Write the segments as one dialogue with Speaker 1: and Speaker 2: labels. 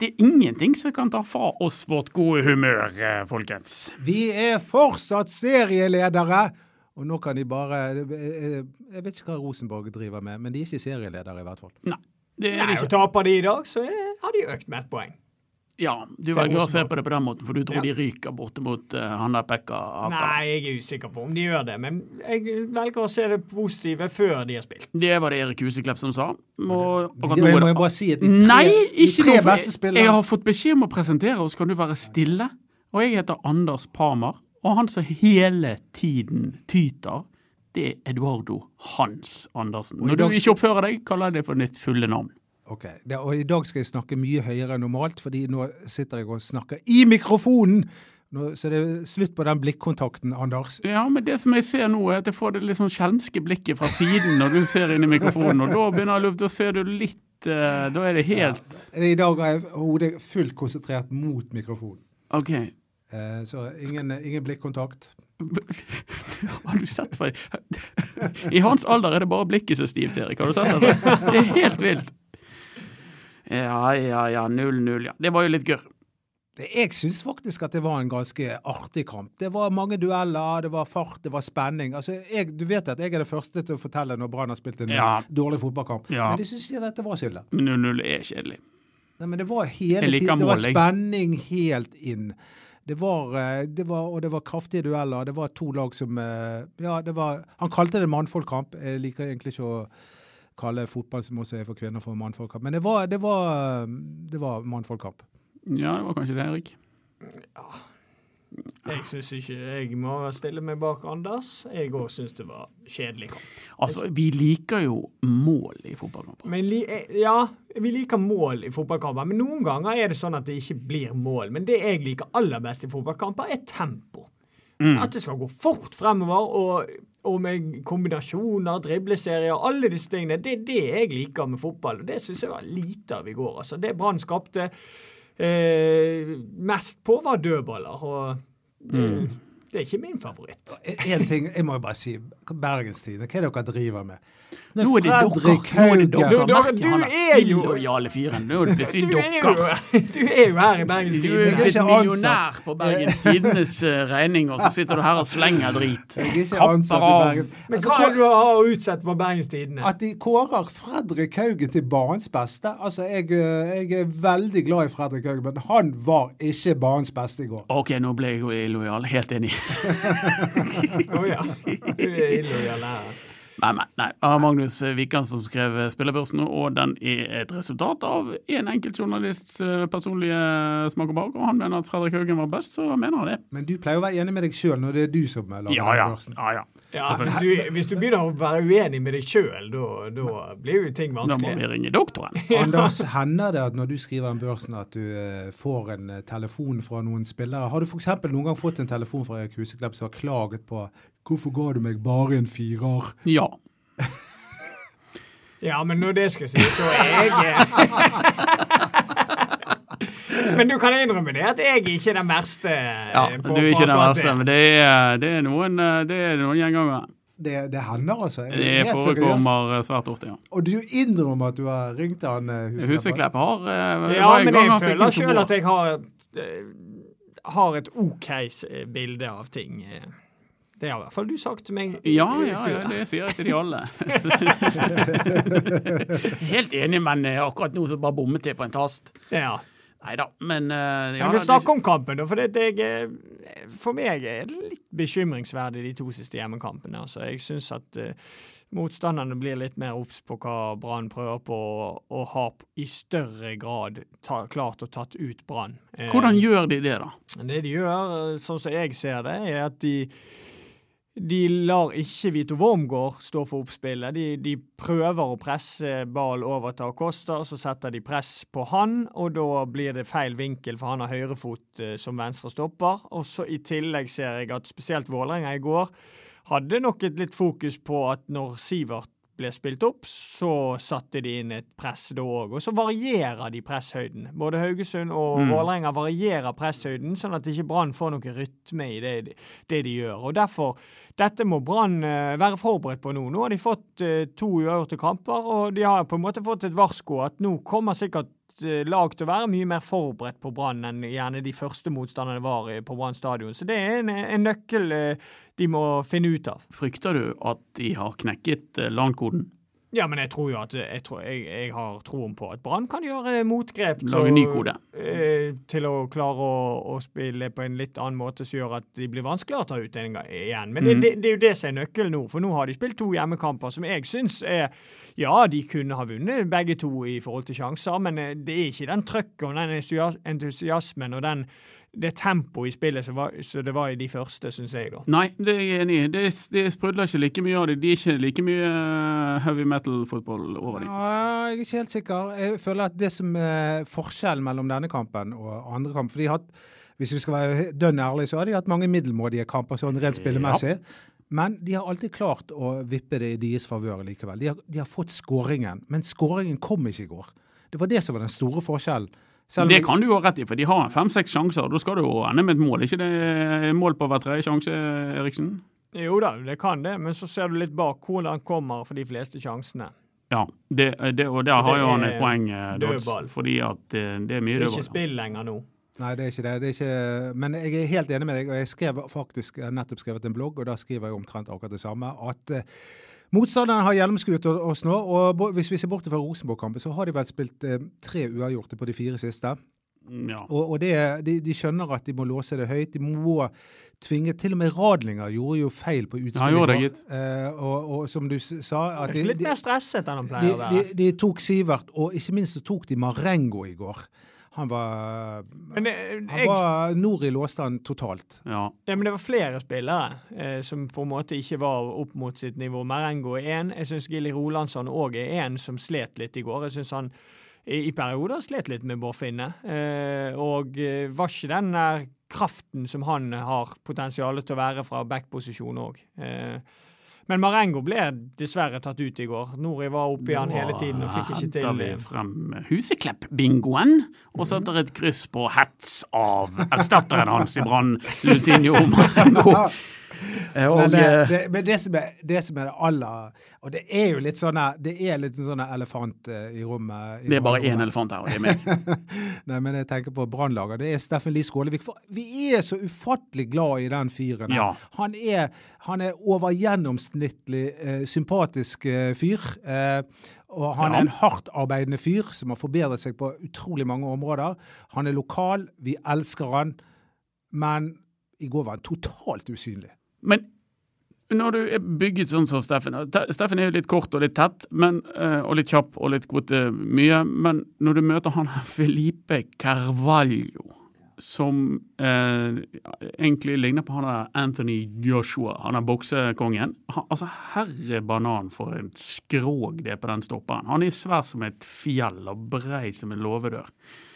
Speaker 1: Det er ingenting som kan ta fra oss vårt gode humør, eh, folkens.
Speaker 2: Vi er fortsatt serieledere! Og nå kan de bare eh, Jeg vet ikke hva Rosenborg driver med, men de er ikke serieledere, i hvert fall.
Speaker 1: Nei, det er
Speaker 3: Nei,
Speaker 1: det
Speaker 3: og
Speaker 1: ikke.
Speaker 3: Taper de i dag, så er det, har de økt med ett poeng.
Speaker 1: Ja, du velger å se
Speaker 3: Rosenborg.
Speaker 1: på det på den måten, for du tror
Speaker 3: Ja.
Speaker 1: de ryker borte mot eh, han der Pekka Hakala.
Speaker 3: Nei, jeg er usikker på om de gjør det, men jeg velger å se det positive før de har spilt.
Speaker 1: Det var det Erik Huseklepp som sa. Og, og
Speaker 2: Det må jeg bare si at de tre,
Speaker 1: Nei,
Speaker 2: de
Speaker 1: ikke
Speaker 2: tre
Speaker 1: noe, for
Speaker 2: beste
Speaker 1: jeg-
Speaker 2: spillerne
Speaker 1: Jeg har fått beskjed om å presentere oss, kan du være stille? Og jeg heter Anders Parmer, og han som hele tiden tyter, det er Eduardo Hans Andersen.
Speaker 2: i
Speaker 1: Når du
Speaker 2: dag-
Speaker 1: ikke oppfører deg, kaller jeg det for ditt fulle navn.
Speaker 2: Ok, det, og I dag skal jeg snakke mye høyere enn normalt, fordi nå sitter jeg og snakker i mikrofonen! Nå, så det er slutt på den blikkontakten, Anders.
Speaker 1: Ja, men det som jeg ser nå, er at jeg får det litt sånn skjelmske blikket fra siden når du ser inn i mikrofonen, og da begynner jeg å lufte, da ser du litt eh, Da er det helt
Speaker 2: Eh, I dag har jeg hodet fullt konsentrert mot mikrofonen.
Speaker 1: OK.
Speaker 2: Eh, så ingen, ingen blikkontakt.
Speaker 1: Har du sett på det? I hans alder er det bare blikket som er stivt, Erik. Har du sett det? Det er helt vilt. Ja, ja, ja. 0-0, ja. Det var jo litt gørr.
Speaker 2: Det, jeg syns faktisk at det var en ganske artig kamp. Det var mange dueller, det var fart, det var spenning. Altså, jeg, du vet at jeg er det første til å fortelle når Brann har spilt en
Speaker 1: Ja.
Speaker 2: dårlig fotballkamp,
Speaker 1: Ja.
Speaker 2: men det syns ikke dette var så ille.
Speaker 1: Men 0-0 er kjedelig.
Speaker 2: Nei, men det var
Speaker 1: Jeg
Speaker 2: hele
Speaker 1: liker
Speaker 2: tiden, det var
Speaker 1: måling.
Speaker 2: spenning helt inn. Det var, eh, det var, og det var kraftige dueller. Det var to lag som eh, Ja, det var Han kalte det mannfolkkamp. Jeg liker egentlig ikke å kalle fotball som også er for kvinner, for mannfolkkamp. Men det var, det var, eh, det var mannfolkkamp.
Speaker 1: Ja, det var kanskje det, Erik.
Speaker 3: Jeg syns ikke jeg må stille meg bak Anders. Jeg òg syns det var kjedelig kamp.
Speaker 1: Altså, vi liker jo mål i fotballkamper.
Speaker 3: Men li, eh, ja, vi liker mål i fotballkamper, men noen ganger er det sånn at det ikke blir mål. Men det jeg liker aller best i fotballkamper, er tempo. At det skal gå fort fremover, og, og med kombinasjoner, dribleserier, alle disse tingene. Det er det jeg liker med fotball, og det syns jeg var lite av i går. Altså, det Brann skapte eh, mest på, var dødballer, og det, det er ikke min favoritt.
Speaker 2: Én ting jeg må jo bare si. Bergenstidene, hva er det dere driver med? Når
Speaker 1: Nå er det
Speaker 2: Fredrik
Speaker 1: dokker. Nå er det dokker.
Speaker 2: Haugen
Speaker 1: Merk
Speaker 3: Du- du-
Speaker 1: han
Speaker 3: du er jo-
Speaker 1: illojale fyren. Nå er det
Speaker 3: Du
Speaker 1: plutselig
Speaker 3: er, jo,
Speaker 1: dokker.
Speaker 3: du er jo her i Bergens
Speaker 1: Du er
Speaker 3: Tidende.
Speaker 2: Jeg er
Speaker 1: blitt
Speaker 2: ikke
Speaker 1: millionær
Speaker 2: ansatt.
Speaker 1: på Bergens Tidenes eh, regning, og så sitter du her og slenger drit.
Speaker 2: Jeg er ikke
Speaker 1: Kapper
Speaker 2: ansatt i
Speaker 1: av.
Speaker 2: Bergen.
Speaker 3: Men
Speaker 2: Altså,
Speaker 3: hva er det du har å utsette på Bergens Tidende?
Speaker 2: At de kårer Fredrik Haugen til banens beste. Altså, jeg, eh, jeg er veldig glad i Fredrik Haugen, men han var ikke banens beste i går.
Speaker 1: Ok, nå ble jeg jo illojal. Helt enig.
Speaker 3: Å ja. Du er illojal her.
Speaker 1: Nei, nei, nei. Av Magnus Wikan som skrev Spillerbørsen, og den er et resultat av en enkelt journalists eh, personlige smak og behag. Og han mener at Fredrik Haugen var best, så mener han det.
Speaker 2: Men du pleier å være enig med deg sjøl når det er du som eh, lager
Speaker 1: Ja ja.
Speaker 2: den børsen.
Speaker 1: ja, ja.
Speaker 3: Ja, hvis,
Speaker 1: Selvfølgelig.
Speaker 3: du, hvis du begynner å være uenig med deg sjøl, da da blir jo ting
Speaker 1: Da må
Speaker 3: vanskelig.
Speaker 1: vi ringe doktoren.
Speaker 2: Anders, hender det at når du skriver den børsen, at du eh, får en eh, telefon fra noen spillere? Har du f.eks. noen gang fått en telefon fra Erik Huseklepp som har klaget på 'Hvorfor ga du meg bare en firer?'
Speaker 1: Ja.
Speaker 3: Ja, men når det skal sies, så er jeg Men du kan innrømme det, at jeg ikke er den verste.
Speaker 1: ja.
Speaker 3: eh,
Speaker 1: Du er ikke den
Speaker 3: akkurat
Speaker 1: verste, men det er, det er noen, eh, det er noen gjengangere.
Speaker 2: Det, det hender, altså. Jeg er
Speaker 1: Det
Speaker 2: helt seriøs.
Speaker 1: forekommer eh, svært ofte, ja.
Speaker 2: Og du innrømmer at du har ringt til han eh, Huseklepp?
Speaker 1: Huseklepp har eh,
Speaker 3: Ja,
Speaker 1: var en
Speaker 3: men
Speaker 1: gang
Speaker 3: jeg
Speaker 1: han fikk
Speaker 3: føler
Speaker 1: en toer.
Speaker 3: sjøl at jeg har, eh, har et OK s- bilde av ting. eh. Det har i hvert fall du sagt til meg.
Speaker 1: Ja, ja, ja, det sier jeg til de alle. Helt enig, men eh, akkurat nå så bare bommet jeg på en tast.
Speaker 3: ja.
Speaker 1: Nei da, men eh, ja,
Speaker 3: Men vi
Speaker 1: da,
Speaker 3: snakker om kampen, da. For, det, det, jeg, for meg er det litt bekymringsverdig de to siste hjemmekampene. Altså, jeg syns at eh, motstanderne blir litt mer obs på hva Brann prøver på, og har p- i større grad ta, klart å tatt ut Brann. Eh,
Speaker 1: Hvordan gjør de det, da?
Speaker 3: Det de gjør, eh, sånn som jeg ser det, er at de De lar ikke Vito Wormgård stå for oppspillet. De, de prøver å presse ball over til Acosta, og så setter de press på han, og da blir det feil vinkel, for han har høyrefot eh, som venstre stopper. Og så i tillegg ser jeg at spesielt Vålerenga i går hadde nok et litt fokus på at når Sivert ble spilt opp, så satte de inn et press da òg. Og så varierer de presshøyden. Både Haugesund og Vålerenga varierer presshøyden, sånn at ikke Brann får noe rytme i det, det de gjør. Og derfor, Dette må Brann eh, være forberedt på nå. Nå har de fått eh, to uavgjorte kamper, og de har på en måte fått et varsko at nå kommer sikkert eh, lag til å være mye mer forberedt på Brann enn gjerne de første motstanderne var eh, på Brann stadion. Så det er en, en nøkkel eh, de må finne ut av.
Speaker 1: Frykter du at de har knekket eh, landkoden?
Speaker 3: Ja, men jeg tror jo at jeg, tror, jeg, jeg har troen på at Brann kan gjøre eh, motgrep til
Speaker 1: Lage
Speaker 3: å-
Speaker 1: ny kode?
Speaker 3: eh, til å klare å, å spille på en litt annen måte som gjør at de blir vanskeligere å ta ut en gang igjen. Men det,
Speaker 1: Mhm.
Speaker 3: det, det er jo det som er nøkkelen nå, for nå har de spilt to hjemmekamper som jeg syns er Ja, de kunne ha vunnet begge to i forhold til sjanser, men eh, det er ikke den trøkket og den entusias- entusiasmen og den, det tempoet i spillet som var, som det var i de første, syns jeg, da.
Speaker 1: Nei, det er jeg enig i. Det, det sprudler ikke like mye av det. De er ikke like mye eh, heavy metal-fotball over dem.
Speaker 2: Ja, jeg er ikke helt sikker. Jeg føler at det som er forskjellen mellom denne kampen og andre kamp for de har hatt, Hvis vi skal være he- dønn ærlige, så har de hatt mange middelmådige kamper sånn rent spillemessig. Men de har alltid klart å vippe det i deres favør likevel. De har, de har fått skåringen, men skåringen kom ikke i går. Det var det som var den store forskjellen. Selv om-
Speaker 1: Det kan du jo ha rett i, for de har fem-seks sjanser. og Da skal det jo ende med et mål. Er Ikke det mål på hver tredje sjanse, Eriksen?
Speaker 3: Jo da, det kan det, men så ser du litt bak hvordan kommer for de fleste sjansene.
Speaker 1: Ja, det, det, og der har
Speaker 3: Det
Speaker 1: jo han et
Speaker 3: er
Speaker 1: poeng, eh, Dodds.
Speaker 3: dødball.
Speaker 1: Fordi at eh, det er mye dødball.
Speaker 3: Det er ikke
Speaker 1: ja.
Speaker 3: spill lenger nå.
Speaker 2: Nei, det er ikke det. det er ikke, men jeg er helt enig med deg, og jeg skrev faktisk jeg har nettopp skrevet en blogg, og da skriver jeg omtrent akkurat det samme. at eh, Motstanderen har gjennomskuet o- oss nå, og bo- hvis vi ser bort fra Rosenborg-kampen, så har de vel spilt eh, tre uavgjorte på de fire siste.
Speaker 1: Mm, Ja.
Speaker 2: Og, og det, de, de skjønner at de må låse det høyt. De må tvinge Til og med Radlinger gjorde jo feil på utspillet.
Speaker 1: Ja, han gjorde det,
Speaker 2: i går.
Speaker 1: gitt.
Speaker 2: Eh, og, og som du s- sa at de,
Speaker 3: Litt
Speaker 2: de,
Speaker 3: mer stresset enn han
Speaker 2: de,
Speaker 3: pleier å
Speaker 2: de,
Speaker 3: være.
Speaker 2: de tok Sivert, og ikke minst så tok de Marengo i går. Han var
Speaker 3: Men det,
Speaker 2: han
Speaker 3: jeg,
Speaker 2: var nord i låstand totalt.
Speaker 1: ja.
Speaker 3: ja, men det var flere spillere eh, som på en måte ikke var opp mot sitt nivå. Marengo er én. Jeg syns Gilly Rolandsson òg er én som slet litt i går. Jeg syns han i, i perioder slet litt med bårfinne. Eh, og eh, var ikke den der kraften som han har potensial til å være fra backposisjon òg. Eh, men Marengo ble dessverre tatt ut i går. Nori var oppi han hele tiden og fikk ikke
Speaker 1: Da henter
Speaker 3: til
Speaker 1: vi
Speaker 3: eh,
Speaker 1: frem Huseklepp-bingoen og setter et kryss på hets av erstatteren hans i Brann, Lutinho Marengo. Eh,
Speaker 2: Men
Speaker 1: Og,
Speaker 2: det,
Speaker 1: eh,
Speaker 2: det, men det, som er, det som er det aller Og det er jo litt sånn her- det er litt sånn her elefant eh, i rommet. i
Speaker 1: det er bare én
Speaker 2: rommet.
Speaker 1: elefant her, og det er meg.
Speaker 2: Nei, men jeg tenker på brannlager. Det er Steffen Lie Skålevik. For Vi er så ufattelig glad i den fyren. her.
Speaker 1: Ja.
Speaker 2: Han, er, han er over gjennomsnittlig eh, sympatisk eh, fyr. Eh, og han
Speaker 1: Ja.
Speaker 2: er en hardtarbeidende fyr som har forbedret seg på utrolig mange områder. Han er lokal, vi elsker han, men i går var han totalt usynlig.
Speaker 1: Men når du er bygget sånn som Steffen Te- Steffen er jo litt kort og litt tett, men, eh, og litt kjapp og litt kvote mye. Men når du møter han Felipe Carvalho, som eh, egentlig ligner på han der Anthony Joshua, han er boksekongen han, Altså, herre banan for en skrog det er på den stopperen. Han er svær som et fjell og brei som en låvedør.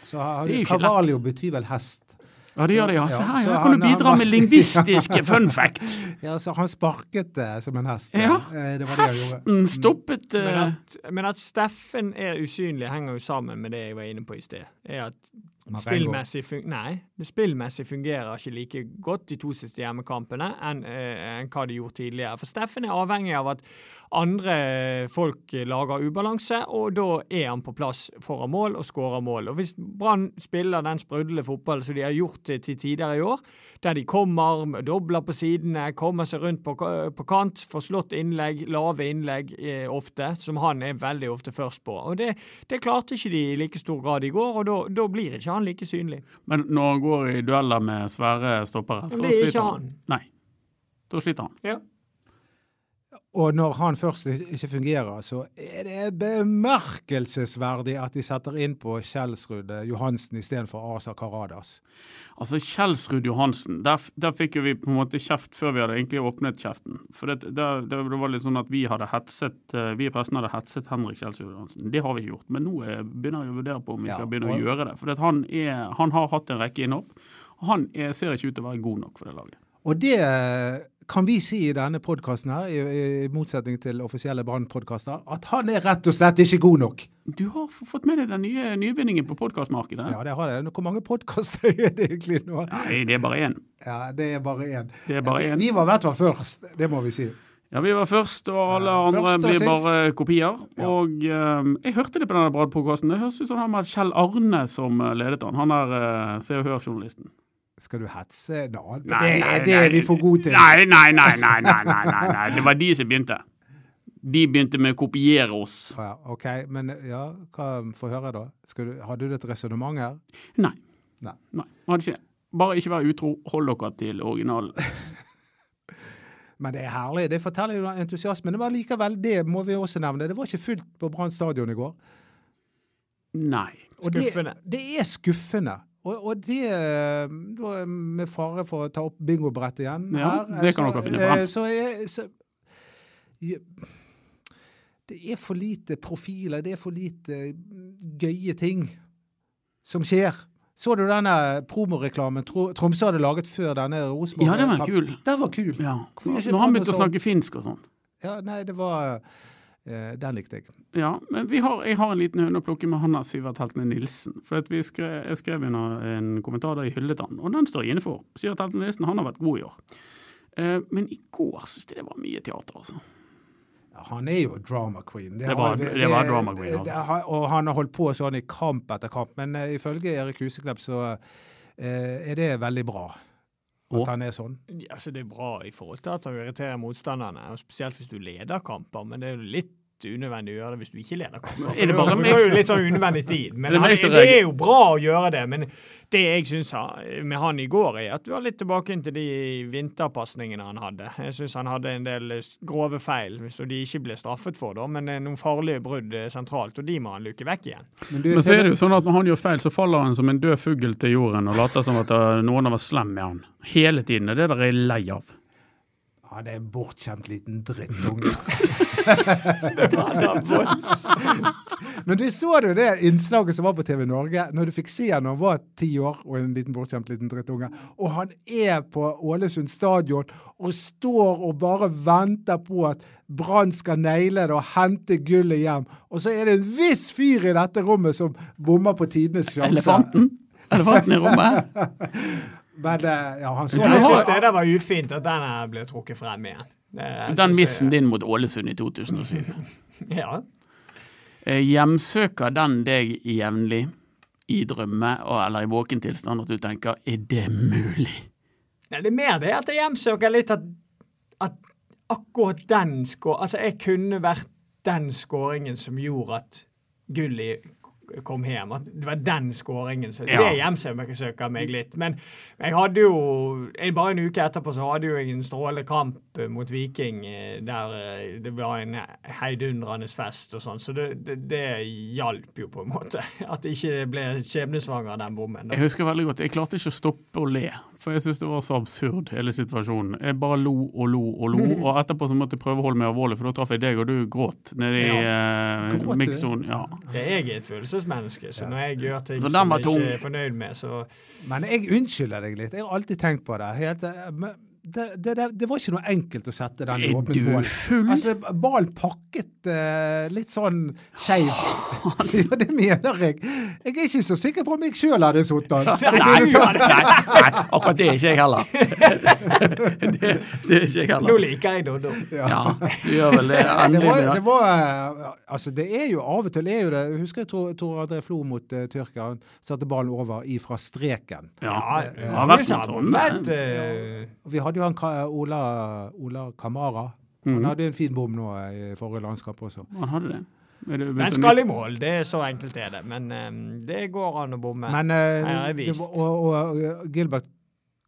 Speaker 2: Så har-
Speaker 1: Det er jo ikke
Speaker 2: Cavallo betyr vel hest.
Speaker 1: Ja, det gjør det, ja.
Speaker 2: Ja,
Speaker 1: Se her,
Speaker 2: så
Speaker 1: her kan
Speaker 2: han-
Speaker 1: du bidra
Speaker 2: han-
Speaker 1: med lingvistiske fun facts.
Speaker 2: Ja, så han sparket det som en hest.
Speaker 1: Ja.
Speaker 2: Eh, det var det han gjorde. Mm.
Speaker 1: Hesten stoppet
Speaker 3: Men
Speaker 1: eh,
Speaker 3: at, men at Steffen er usynlig, henger jo sammen med det jeg var inne på i sted. Er at
Speaker 2: Marengo.
Speaker 3: spillmessig, fun nei, det spillmessig fungerer ikke like godt de to siste hjemmekampene enn eh, enn hva de gjorde tidligere. For Steffen er avhengig av at andre folk lager ubalanse, og da er han på plass foran mål og skårer mål. Og hvis Brann spiller den sprudlende fotballen som de har gjort til til tider i år, der de kommer, dobler på sidene, kommer seg rundt på, k- på kant, får slått innlegg, lave innlegg eh, ofte, som han er veldig ofte først på. Og det, det klarte ikke de i like stor grad i går, og da- da blir ikke han like synlig.
Speaker 1: Men når han går i dueller med svære stoppere, så
Speaker 3: Men det er
Speaker 1: sliter
Speaker 3: ikke
Speaker 1: han.
Speaker 3: han.
Speaker 1: Nei, da sliter han.
Speaker 3: Ja.
Speaker 2: Og når han først ikke fungerer, så er det bemerkelsesverdig at de setter inn på Kjelsrud eh, Johansen istedenfor Asa Karadas.
Speaker 1: Altså Kjelsrud Johansen, der, f- der fikk jo vi på en måte kjeft før vi hadde egentlig åpnet kjeften. For det, der- der- det var litt sånn at vi hadde hetset, eh, vi i pressen hadde hetset Henrik Kjelsrud Johansen. Det har vi ikke gjort, men nå eh, begynner jeg å vurdere på om vi
Speaker 2: Ja,
Speaker 1: skal begynne å
Speaker 2: og-
Speaker 1: gjøre det. For det at han, er, han har hatt en rekke innhopp, og han er, ser ikke ut til å være god nok for det laget.
Speaker 2: Og det eh, kan vi si i denne podkasten her, i, i motsetning til offisielle Brann-podkaster, at han er rett og slett ikke god nok.
Speaker 1: Du har f- fått med deg den nye nyvinningen på podkastmarkedet?
Speaker 2: Ja, det har jeg. Hvor mange podkaster er det egentlig nå?
Speaker 1: Nei, det er bare én.
Speaker 2: Ja, det er bare én.
Speaker 1: Det er bare
Speaker 2: Vi-
Speaker 1: én.
Speaker 2: Vi var i hvert fall først, det må vi si.
Speaker 1: Ja, vi var først, og alle
Speaker 2: Ja,
Speaker 1: andre
Speaker 2: først og
Speaker 1: blir
Speaker 2: sist.
Speaker 1: bare kopier. Og eh, jeg hørte det på denne bradpodkasten. Det høres ut som han var Kjell Arne som eh, ledet han. Han er eh, Se og Hør-journalisten.
Speaker 2: Skal du hetse en annen? det, det er vi for gode til.
Speaker 1: Nei, nei, nei, nei, nei, nei, nei, nei. Det var de som begynte. De begynte med å kopiere oss.
Speaker 2: Ja, OK, men ja, hva får høre da? Skal du, har du et resonnement her?
Speaker 1: Nei.
Speaker 2: Nei.
Speaker 1: nei. Hadde ikke det. Bare ikke vær utro. Hold dere til originalen.
Speaker 2: Men det er herlig. Det forteller jo entusiasme. Men likevel, det må vi også nevne. Det var ikke fullt på Brann stadion i går.
Speaker 1: Nei.
Speaker 2: Og det,
Speaker 3: Skuffende.
Speaker 2: det er skuffende. Og, og det eh, da, Med fare for å ta opp bingobrettet igjen
Speaker 1: Ja,
Speaker 2: her, eh,
Speaker 1: det kan
Speaker 2: så-
Speaker 1: dere finne frem.
Speaker 2: eh, Så, er- så, Ja, det er for lite profiler, det er for lite mm, gøye ting som skjer. Så du denne promoreklamen Tro- Tromsø hadde laget før denne Rosenborg?
Speaker 1: Ja, den var kul.
Speaker 2: Den var kul.
Speaker 1: Ja.
Speaker 2: Hvorfor gjør ikke
Speaker 1: Når han
Speaker 2: Brann
Speaker 1: begynte å
Speaker 2: sånn?
Speaker 1: snakke finsk og sånn.
Speaker 2: Ja, nei, det var eh, Den likte jeg.
Speaker 1: Ja, men vi har, jeg har en liten høne å plukke med Hanna Sivert Heltene Nilsen. For at vi skrev, jeg skrev en, en kommentar der jeg hyllet han, og den står jeg inne for. Sivert Heltene Nilsen han har vært god i år. Eh, men i går syns jeg det var mye teater, altså.
Speaker 2: Ja, Han er jo drama queen.
Speaker 1: Det var-
Speaker 2: har vi-
Speaker 1: det var drama queen, altså.
Speaker 2: det har- og han har holdt på sånn i kamp etter kamp. Men eh, ifølge Erik Huseklepp så eh, er det veldig bra at
Speaker 1: Og?
Speaker 2: han er sånn.
Speaker 3: Ja, Altså, det er bra i forhold til at han irriterer motstanderne, og spesielt hvis du leder kamper, men det er jo litt unødvendig å gjøre det hvis du ikke leder kamper.
Speaker 1: Er det bare
Speaker 3: For
Speaker 1: meg
Speaker 3: du bruker
Speaker 1: som-
Speaker 3: jo litt sånn unødvendig tid. Men
Speaker 1: Er det
Speaker 3: han,
Speaker 1: meg som
Speaker 3: det er
Speaker 1: reagerer?
Speaker 3: jo bra å gjøre det, men det jeg syns med han i går, er at du er litt tilbake inn til de vinterpasningene han hadde. Jeg syns han hadde en del eh, s- grove feil, så de ikke ble straffet for, da, men eh, noen farlige brudd eh, sentralt, og de må han luke vekk igjen.
Speaker 2: du,
Speaker 1: Men så er det jo sånn at når han gjør feil, så faller han som en død fugl til jorden og later som at eh, noen har vært slem med han. Hele tiden. og Det der er jeg lei av.
Speaker 2: Ja, det er en bortskjemt liten drittunge. Men du så jo det innslaget som var på TV Norge, når du fikk se han når han var ti år og en liten bortskjemt liten drittunge. Og han er på Ålesund stadion og står og bare venter på at Brann skal naile det og hente gullet hjem. Og så er det en viss fyr i dette rommet som bommer på tidenes sjanse.
Speaker 1: Elefanten. Elefanten i rommet.
Speaker 2: Men eh, ja, han så
Speaker 1: Ja,
Speaker 3: Jeg
Speaker 1: har-
Speaker 3: syns det der var ufint at den her ble trukket frem igjen. Det
Speaker 1: Den
Speaker 3: synes jeg-
Speaker 1: missen din mot Ålesund i 2007.
Speaker 3: Ja.
Speaker 1: Eh, Hjemsøker den deg jevnlig i drømme og- eller i våken tilstand at du tenker 'er det mulig'?
Speaker 3: Nei, det er mer det at jeg hjemsøker litt at, at akkurat den skår... Altså, jeg kunne vært den skåringen som gjorde at Gulli kom hjem. At det var den skåringen. Så
Speaker 1: Ja.
Speaker 3: Det hjemsøker meg litt. Men jeg hadde jo jeg, Bare en uke etterpå så hadde jo jeg en strålende kamp eh, mot Viking eh, der eh, det var en heidundrende fest og sånn. Så det, det, det hjalp jo på en måte. At det ikke ble skjebnesvanger, den bommen.
Speaker 1: Jeg husker veldig godt, jeg klarte ikke å stoppe å le, for jeg syntes det var så absurd, hele situasjonen. Jeg bare lo og lo og lo, og etterpå så måtte jeg prøve å holde meg alvorlig, for da traff jeg deg, og du gråt nede i
Speaker 2: Gråt
Speaker 1: ja.
Speaker 2: du?
Speaker 1: mikssonen. Ja.
Speaker 3: Ja, jeg er et følelsesmenneske, så når jeg gjør ting
Speaker 1: Så den
Speaker 3: som
Speaker 1: var
Speaker 3: jeg ikke er
Speaker 1: tung.
Speaker 3: fornøyd med, så
Speaker 2: Men jeg unnskylder deg litt. Jeg har alltid tenkt på det. Helt, eh, men det, det, det, det var ikke noe enkelt å sette den i
Speaker 1: Er
Speaker 2: åpent
Speaker 1: du
Speaker 2: mål.
Speaker 1: full?
Speaker 2: Altså, ballen pakket eh, litt sånn skeivt. ja, det mener jeg. Jeg er ikke så sikker på om jeg sjøl hadde sittet den.
Speaker 1: Nei, nei, nei, akkurat det er ikke jeg heller. Det, det er ikke jeg
Speaker 3: Nå
Speaker 1: heller.
Speaker 3: liker jeg Doddo.
Speaker 1: Ja, du gjør vel det
Speaker 2: Det var,
Speaker 1: endelig.
Speaker 2: det var eh, Altså, det er jo av og til er jo det Jeg husker jeg Tor Tor André Flo mot uh, Tyrkia. Han satte ballen over ifra streken.
Speaker 1: Ja, det sånn, har
Speaker 3: det
Speaker 1: vært noen
Speaker 3: men,
Speaker 1: sånne.
Speaker 3: eh,
Speaker 2: Og Vi hadde jo han Ka- Ola, Ola Kamara.
Speaker 1: Mhm.
Speaker 2: Han hadde en fin bom nå eh, i forrige landskamp også.
Speaker 1: Han hadde det. Er det-
Speaker 3: den skal i mål, det er så enkelt er det. Men eh, det går an å bomme.
Speaker 2: Men eh,
Speaker 3: Her er
Speaker 2: det
Speaker 3: vist.
Speaker 2: var, og, og Gilbert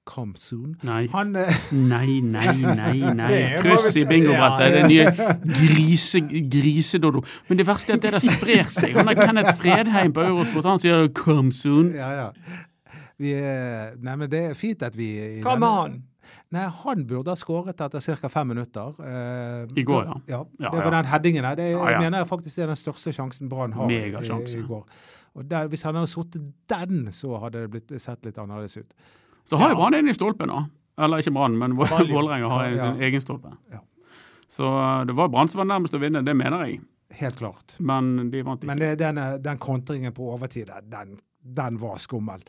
Speaker 2: come soon.
Speaker 1: Nei.
Speaker 2: Han, eh,
Speaker 1: Nei, nei, nei.
Speaker 3: Det
Speaker 1: nei.
Speaker 3: er
Speaker 1: Kryss
Speaker 3: bare-
Speaker 1: i bingobrettet.
Speaker 3: Ja,
Speaker 1: Det er nye grise, grisedodo. Men det verste er at det der sprer seg. Han der Kenneth Fredheim på Eurosport han sier 'come soon'.
Speaker 2: ja, ja. Vi, eh, nei, men det er fint at vi i
Speaker 3: Hva
Speaker 2: denne-
Speaker 3: med han?
Speaker 2: Nei, han burde ha skåret etter ca. fem minutter. Eh,
Speaker 1: I går, ja.
Speaker 2: ja.
Speaker 1: Ja,
Speaker 2: Det
Speaker 1: ja.
Speaker 2: var den headingen der. Det er-
Speaker 1: Ja, ja.
Speaker 2: mener jeg faktisk det er den største sjansen Brann har i,
Speaker 1: Megasjanse.
Speaker 2: i går. Og der, Hvis han hadde sittet den, så hadde det blitt sett litt annerledes ut.
Speaker 1: Så har jo Brann en i stolpen, da. Eller ikke Brann, men Vå- Vålerenga har en sin
Speaker 2: Ja.
Speaker 1: egen stolpe.
Speaker 2: Ja.
Speaker 1: Så eh, det var Brann som var nærmest å vinne, det mener jeg.
Speaker 2: Helt klart.
Speaker 1: Men de vant ikke.
Speaker 2: Men det, den, den kontringen på overtid, der, den, den var skummel.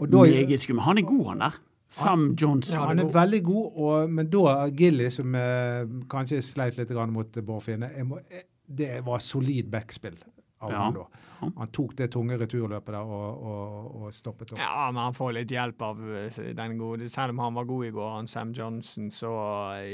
Speaker 2: Og da-
Speaker 1: Meget skummel. Han er god, han der. Sam Johnson.
Speaker 2: han er veldig god, og, men da Gilly, som eh, kanskje sleit litt grann mot Bårfinne jeg må- eh, Det var solid backspill av
Speaker 1: Ja.
Speaker 2: han da. Han tok det tunge returløpet der og, og, og stoppet opp.
Speaker 3: Ja, men han får litt hjelp av eh, den gode Selv om han var god i går, han Sam Johnson, så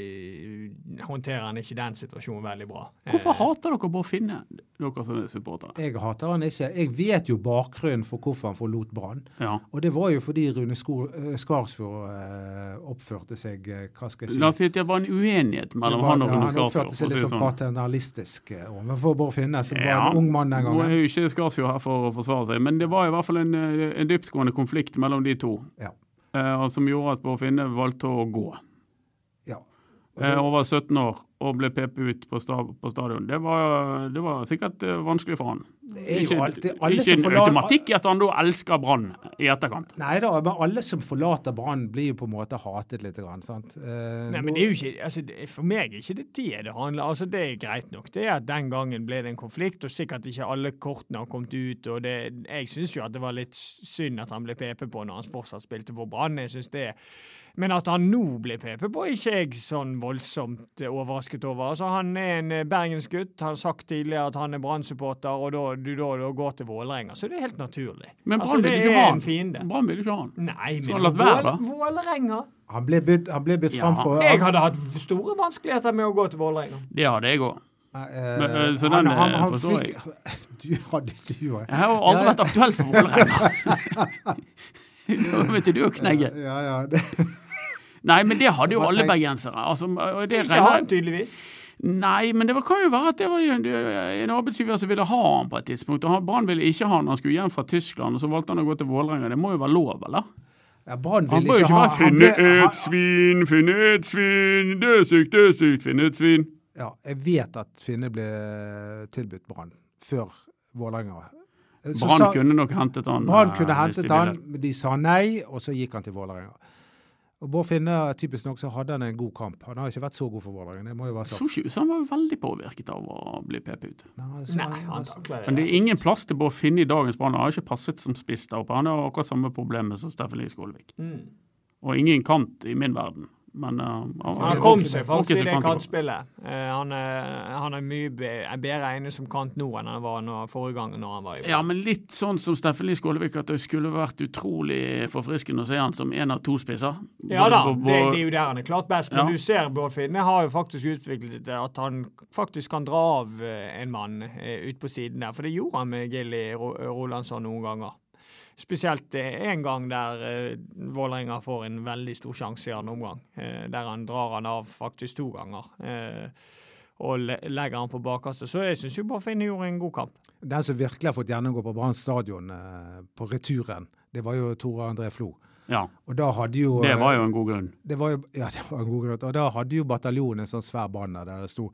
Speaker 3: eh, håndterer han ikke den situasjonen veldig bra. Eh,
Speaker 1: Hvorfor hater dere Bård Finne, dere som er supportere?
Speaker 2: Jeg hater han ikke. Jeg vet jo bakgrunnen for hvorfor han forlot Brann.
Speaker 1: Ja.
Speaker 2: Og det var jo fordi Rune Sko eh, Skarsfjord eh, oppførte seg eh, Hva skal jeg si?
Speaker 1: La oss si at det var en uenighet
Speaker 2: Det
Speaker 1: mellom
Speaker 2: var-
Speaker 1: han og
Speaker 2: ja,
Speaker 1: Rune
Speaker 2: han
Speaker 1: Skarsfjord. for
Speaker 2: oppførte
Speaker 1: å
Speaker 2: seg
Speaker 1: si
Speaker 2: litt
Speaker 1: det
Speaker 2: sånn
Speaker 1: sånn.
Speaker 2: paternalistisk eh, overfor Bård Finne, som var
Speaker 1: Ja,
Speaker 2: en ung mann den
Speaker 1: Nå er
Speaker 2: gangen.
Speaker 1: jo ikke Skarsfjord her for å forsvare seg, men det var i hvert fall en, eh, en dyptgående konflikt mellom de to,
Speaker 2: Ja.
Speaker 1: eh, og som gjorde at Bård Finne valgte å gå.
Speaker 2: ja.
Speaker 1: Eh, og var 17 år og ble pepet ut på, sta på stadion. Det var, det var sikkert eh, vanskelig for han.
Speaker 2: Det er jo alltid alle
Speaker 1: ikke
Speaker 2: som
Speaker 1: en
Speaker 2: forlater-
Speaker 1: automatikk i at han da elsker Brann i etterkant.
Speaker 2: Nei da, men alle som forlater Brann, blir jo på en måte hatet litt. Grann, sant? Eh,
Speaker 3: Nei, men det er jo ikke, altså, det- For meg er ikke det det det handler altså Det er greit nok. Det er at Den gangen ble det en konflikt, og sikkert ikke alle kortene har kommet ut. og det, Jeg syns jo at det var litt synd at han ble PP på når han fortsatt spilte for Brann. jeg synes det. Men at han nå ble PP på, er ikke jeg sånn voldsomt eh, overrasket over. Altså Han er en eh, bergensgutt. Han har sagt tidligere at han er Brann-supporter, og da, du da, da går til Vålerenga. Så det er helt naturlig.
Speaker 1: Men
Speaker 3: Altså,
Speaker 1: Brann ville
Speaker 3: det
Speaker 1: ikke
Speaker 3: er
Speaker 1: ha
Speaker 3: en
Speaker 1: han.
Speaker 3: fiende. Mm.
Speaker 1: Brann ville ikke ha han.
Speaker 3: Nei,
Speaker 1: Så
Speaker 3: men
Speaker 1: han latt være, da?
Speaker 3: Vål- Vålerenga
Speaker 2: han ble bytt, han ble bytt
Speaker 1: Ja.
Speaker 2: fram for
Speaker 3: jeg hadde hatt store vanskeligheter med å gå til Vålerenga.
Speaker 1: Det hadde jeg òg.
Speaker 2: Eh,
Speaker 1: Men, eh, så
Speaker 2: han,
Speaker 1: den, eh,
Speaker 2: han, han
Speaker 1: forstår
Speaker 2: fikk Du hadde du òg.
Speaker 1: Jeg har jo aldri vært aktuell for Vålerenga. da vet du å knegge.
Speaker 2: Ja, ja. Det,
Speaker 1: Nei, men det hadde jo
Speaker 2: Bare
Speaker 1: alle
Speaker 2: tenk-
Speaker 1: bergensere. Altså, og det
Speaker 3: Ikke
Speaker 1: regner,
Speaker 3: han, tydeligvis.
Speaker 1: nei, men det var- kan jo være at det var jo en, eh, en arbeidsgiver som ville ha han på et tidspunkt. og han- Brann ville ikke ha han, han skulle hjem fra Tyskland, og så valgte han å gå til Vålerenga. Det må jo være lov, eller?
Speaker 2: ja, Brann
Speaker 1: Han
Speaker 2: ville
Speaker 1: bør jo ikke
Speaker 2: ikke ha
Speaker 1: være
Speaker 2: han
Speaker 1: 'finne
Speaker 2: ble- han-
Speaker 1: et svin, finne et svin', det er sykt, det er sykt, finne et svin'.
Speaker 2: Ja, jeg vet at Finne ble tilbudt Brann før Vålerenga. Så
Speaker 1: Brann
Speaker 2: sa-
Speaker 1: kunne nok hentet han.
Speaker 2: Brann
Speaker 1: eh,
Speaker 2: kunne
Speaker 1: hvis de
Speaker 2: hentet
Speaker 1: ville.
Speaker 2: han, men de sa nei, og så gikk han til Vålerenga. Og Bård Finne, typisk nok, så hadde han en god kamp. Han har ikke vært så god for Vålerenga. det må jo være
Speaker 1: Så
Speaker 2: sagt.
Speaker 1: ikke ut som han var veldig påvirket av å bli pepet ut.
Speaker 2: Nei, så-
Speaker 3: Nei, han takler
Speaker 1: altså. Men
Speaker 3: det.
Speaker 1: det er ingen plass til Bård Finne i dagens Brann. Han har ikke passet som spiss der oppe. Han har akkurat samme problemet som Steffen Lie Skålevik.
Speaker 3: Mm.
Speaker 1: Og ingen kant i min verden. Men eh, han,
Speaker 3: Han
Speaker 2: det-
Speaker 3: kom seg
Speaker 1: Ok, så
Speaker 3: faktisk i det
Speaker 1: kant-
Speaker 3: kantspillet. Eh, han, er, han er mye be, er bedre egnet som kant nå enn han var når, forrige gang når han var i
Speaker 1: Ja, men litt sånn som Steffen Lie Skålevik, at det skulle vært utrolig forfriskende å se han som en av to spisser.
Speaker 3: Ja da,
Speaker 1: Både på-
Speaker 3: det, det er jo der han er klart best, men
Speaker 1: Ja.
Speaker 3: du ser Bård Finne har jo faktisk utviklet det at han faktisk kan dra av eh, en mann eh, ut på siden der, for det gjorde han med Gilly Ro Rolandsson noen ganger. Spesielt eh, en gang der eh, Vålerenga får en veldig stor sjanse i andre omgang, eh, der han drar han av faktisk to ganger. Eh, og le legger han på bakkastet. Så jeg syns jo Bård Finne gjorde en god kamp.
Speaker 2: Den som virkelig har fått gjennomgå på Brann stadion eh, på returen, det var jo Tore André Flo.
Speaker 1: ja,
Speaker 2: Og da hadde jo eh,
Speaker 1: det var jo en god grunn.
Speaker 2: det var jo ja, det var en god grunn. Og da hadde jo bataljonen en sånn svær banner der det sto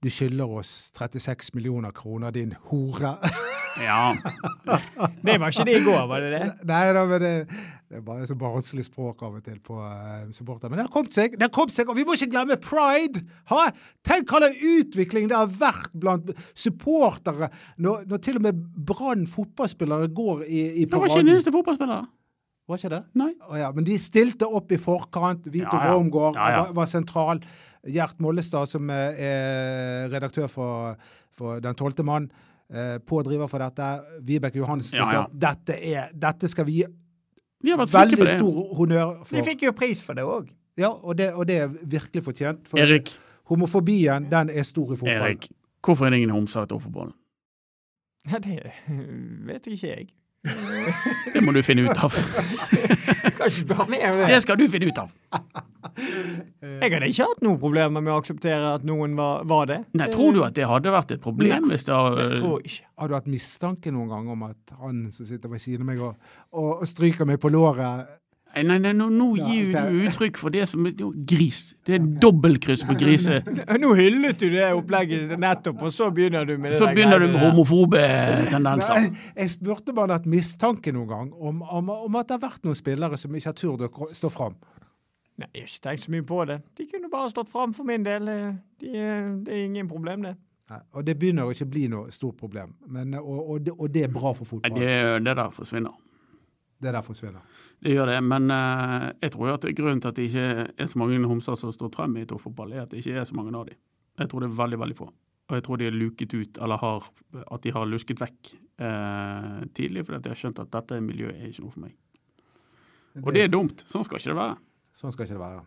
Speaker 2: du skylder oss 36 millioner kroner, din hore.
Speaker 1: Ja,
Speaker 3: Det var ikke det i går, var det det?
Speaker 2: Nei da, men det, det er bare så barnslig språk av og til på uh, supporter. Men det har kommet seg, det har kommet seg, og vi må ikke glemme pride! Ha? Tenk hva slags utvikling det har vært blant supportere, når, når til og med Brann fotballspillere går i, i
Speaker 1: det var ikke en
Speaker 2: paraden.
Speaker 1: eneste fotballspiller.
Speaker 2: Var ikke det?
Speaker 1: Nei.
Speaker 2: Å ja, men de stilte opp i forkant. Vito
Speaker 1: Ja, ja.
Speaker 2: Wormgård
Speaker 1: Ja, ja.
Speaker 2: Var, var sentral. Gjert Mollestad, som eh, er redaktør for, for Den tolvte mann, eh, pådriver for dette. Vibeke Johansen.
Speaker 1: Ja, ja.
Speaker 2: Dette, er, dette skal vi gi
Speaker 1: De har vært flinke på
Speaker 2: veldig
Speaker 1: det.
Speaker 2: stor honnør
Speaker 3: De
Speaker 2: for.
Speaker 3: fikk jo pris for det òg.
Speaker 2: Ja, og det, og det er virkelig fortjent. For
Speaker 1: Erik,
Speaker 2: homofobien, den er stor i fotballen.
Speaker 1: Erik, hvorfor er det ingen homser etter fotballen?
Speaker 3: Ja, det vet ikke jeg.
Speaker 1: Det må du finne ut av.
Speaker 3: kan ikke spørre mer om det.
Speaker 1: Det skal du finne ut av.
Speaker 3: Jeg hadde ikke hatt noen problemer med å akseptere at noen var, var det.
Speaker 1: Nei, Tror du at det hadde vært et problem hvis det
Speaker 3: Jeg
Speaker 1: har
Speaker 3: tror ikke.
Speaker 2: Har du hatt mistanke noen gang om at han som sitter ved siden av meg og, og, og stryker meg på låret
Speaker 1: Nei, nei, nei nå, nå
Speaker 2: Ja,
Speaker 1: gir
Speaker 2: ok.
Speaker 1: du uttrykk for det som er jo, gris. Det er dobbeltkryss på grise.
Speaker 3: Nå hyllet du det opplegget nettopp, og så begynner du med det
Speaker 1: Så
Speaker 3: der
Speaker 1: begynner du
Speaker 3: greiene
Speaker 1: med
Speaker 3: der.
Speaker 1: homofobe
Speaker 2: Nei,
Speaker 1: tendenser.
Speaker 2: jeg spurte om han har hatt mistanke noen gang om, om, om at det har vært noen spillere som ikke har turt å kro- stå fram.
Speaker 3: Nei, jeg har ikke tenkt så mye på det. De kunne bare stått fram for min del. eh, De, eh, det er ingen problem, det.
Speaker 2: Nei, Og det begynner å ikke bli noe stort problem, men, eh, og, og, det, og det er bra for
Speaker 1: Nei,
Speaker 2: fotball.
Speaker 1: Det, det der forsvinner.
Speaker 2: Det der forsvinner.
Speaker 1: Det gjør det, men eh, jeg tror jo at grunnen til at det ikke er så mange homser som står frem i toppfotball, er at det ikke er så mange av dem. Jeg tror det er veldig, veldig få. Og jeg tror de er luket ut, eller har, at de har lusket vekk eh, tidlig, fordi at de har skjønt at dette miljøet er ikke noe for meg. Og det er dumt. Sånn skal ikke det være.
Speaker 2: Sånn skal ikke det være.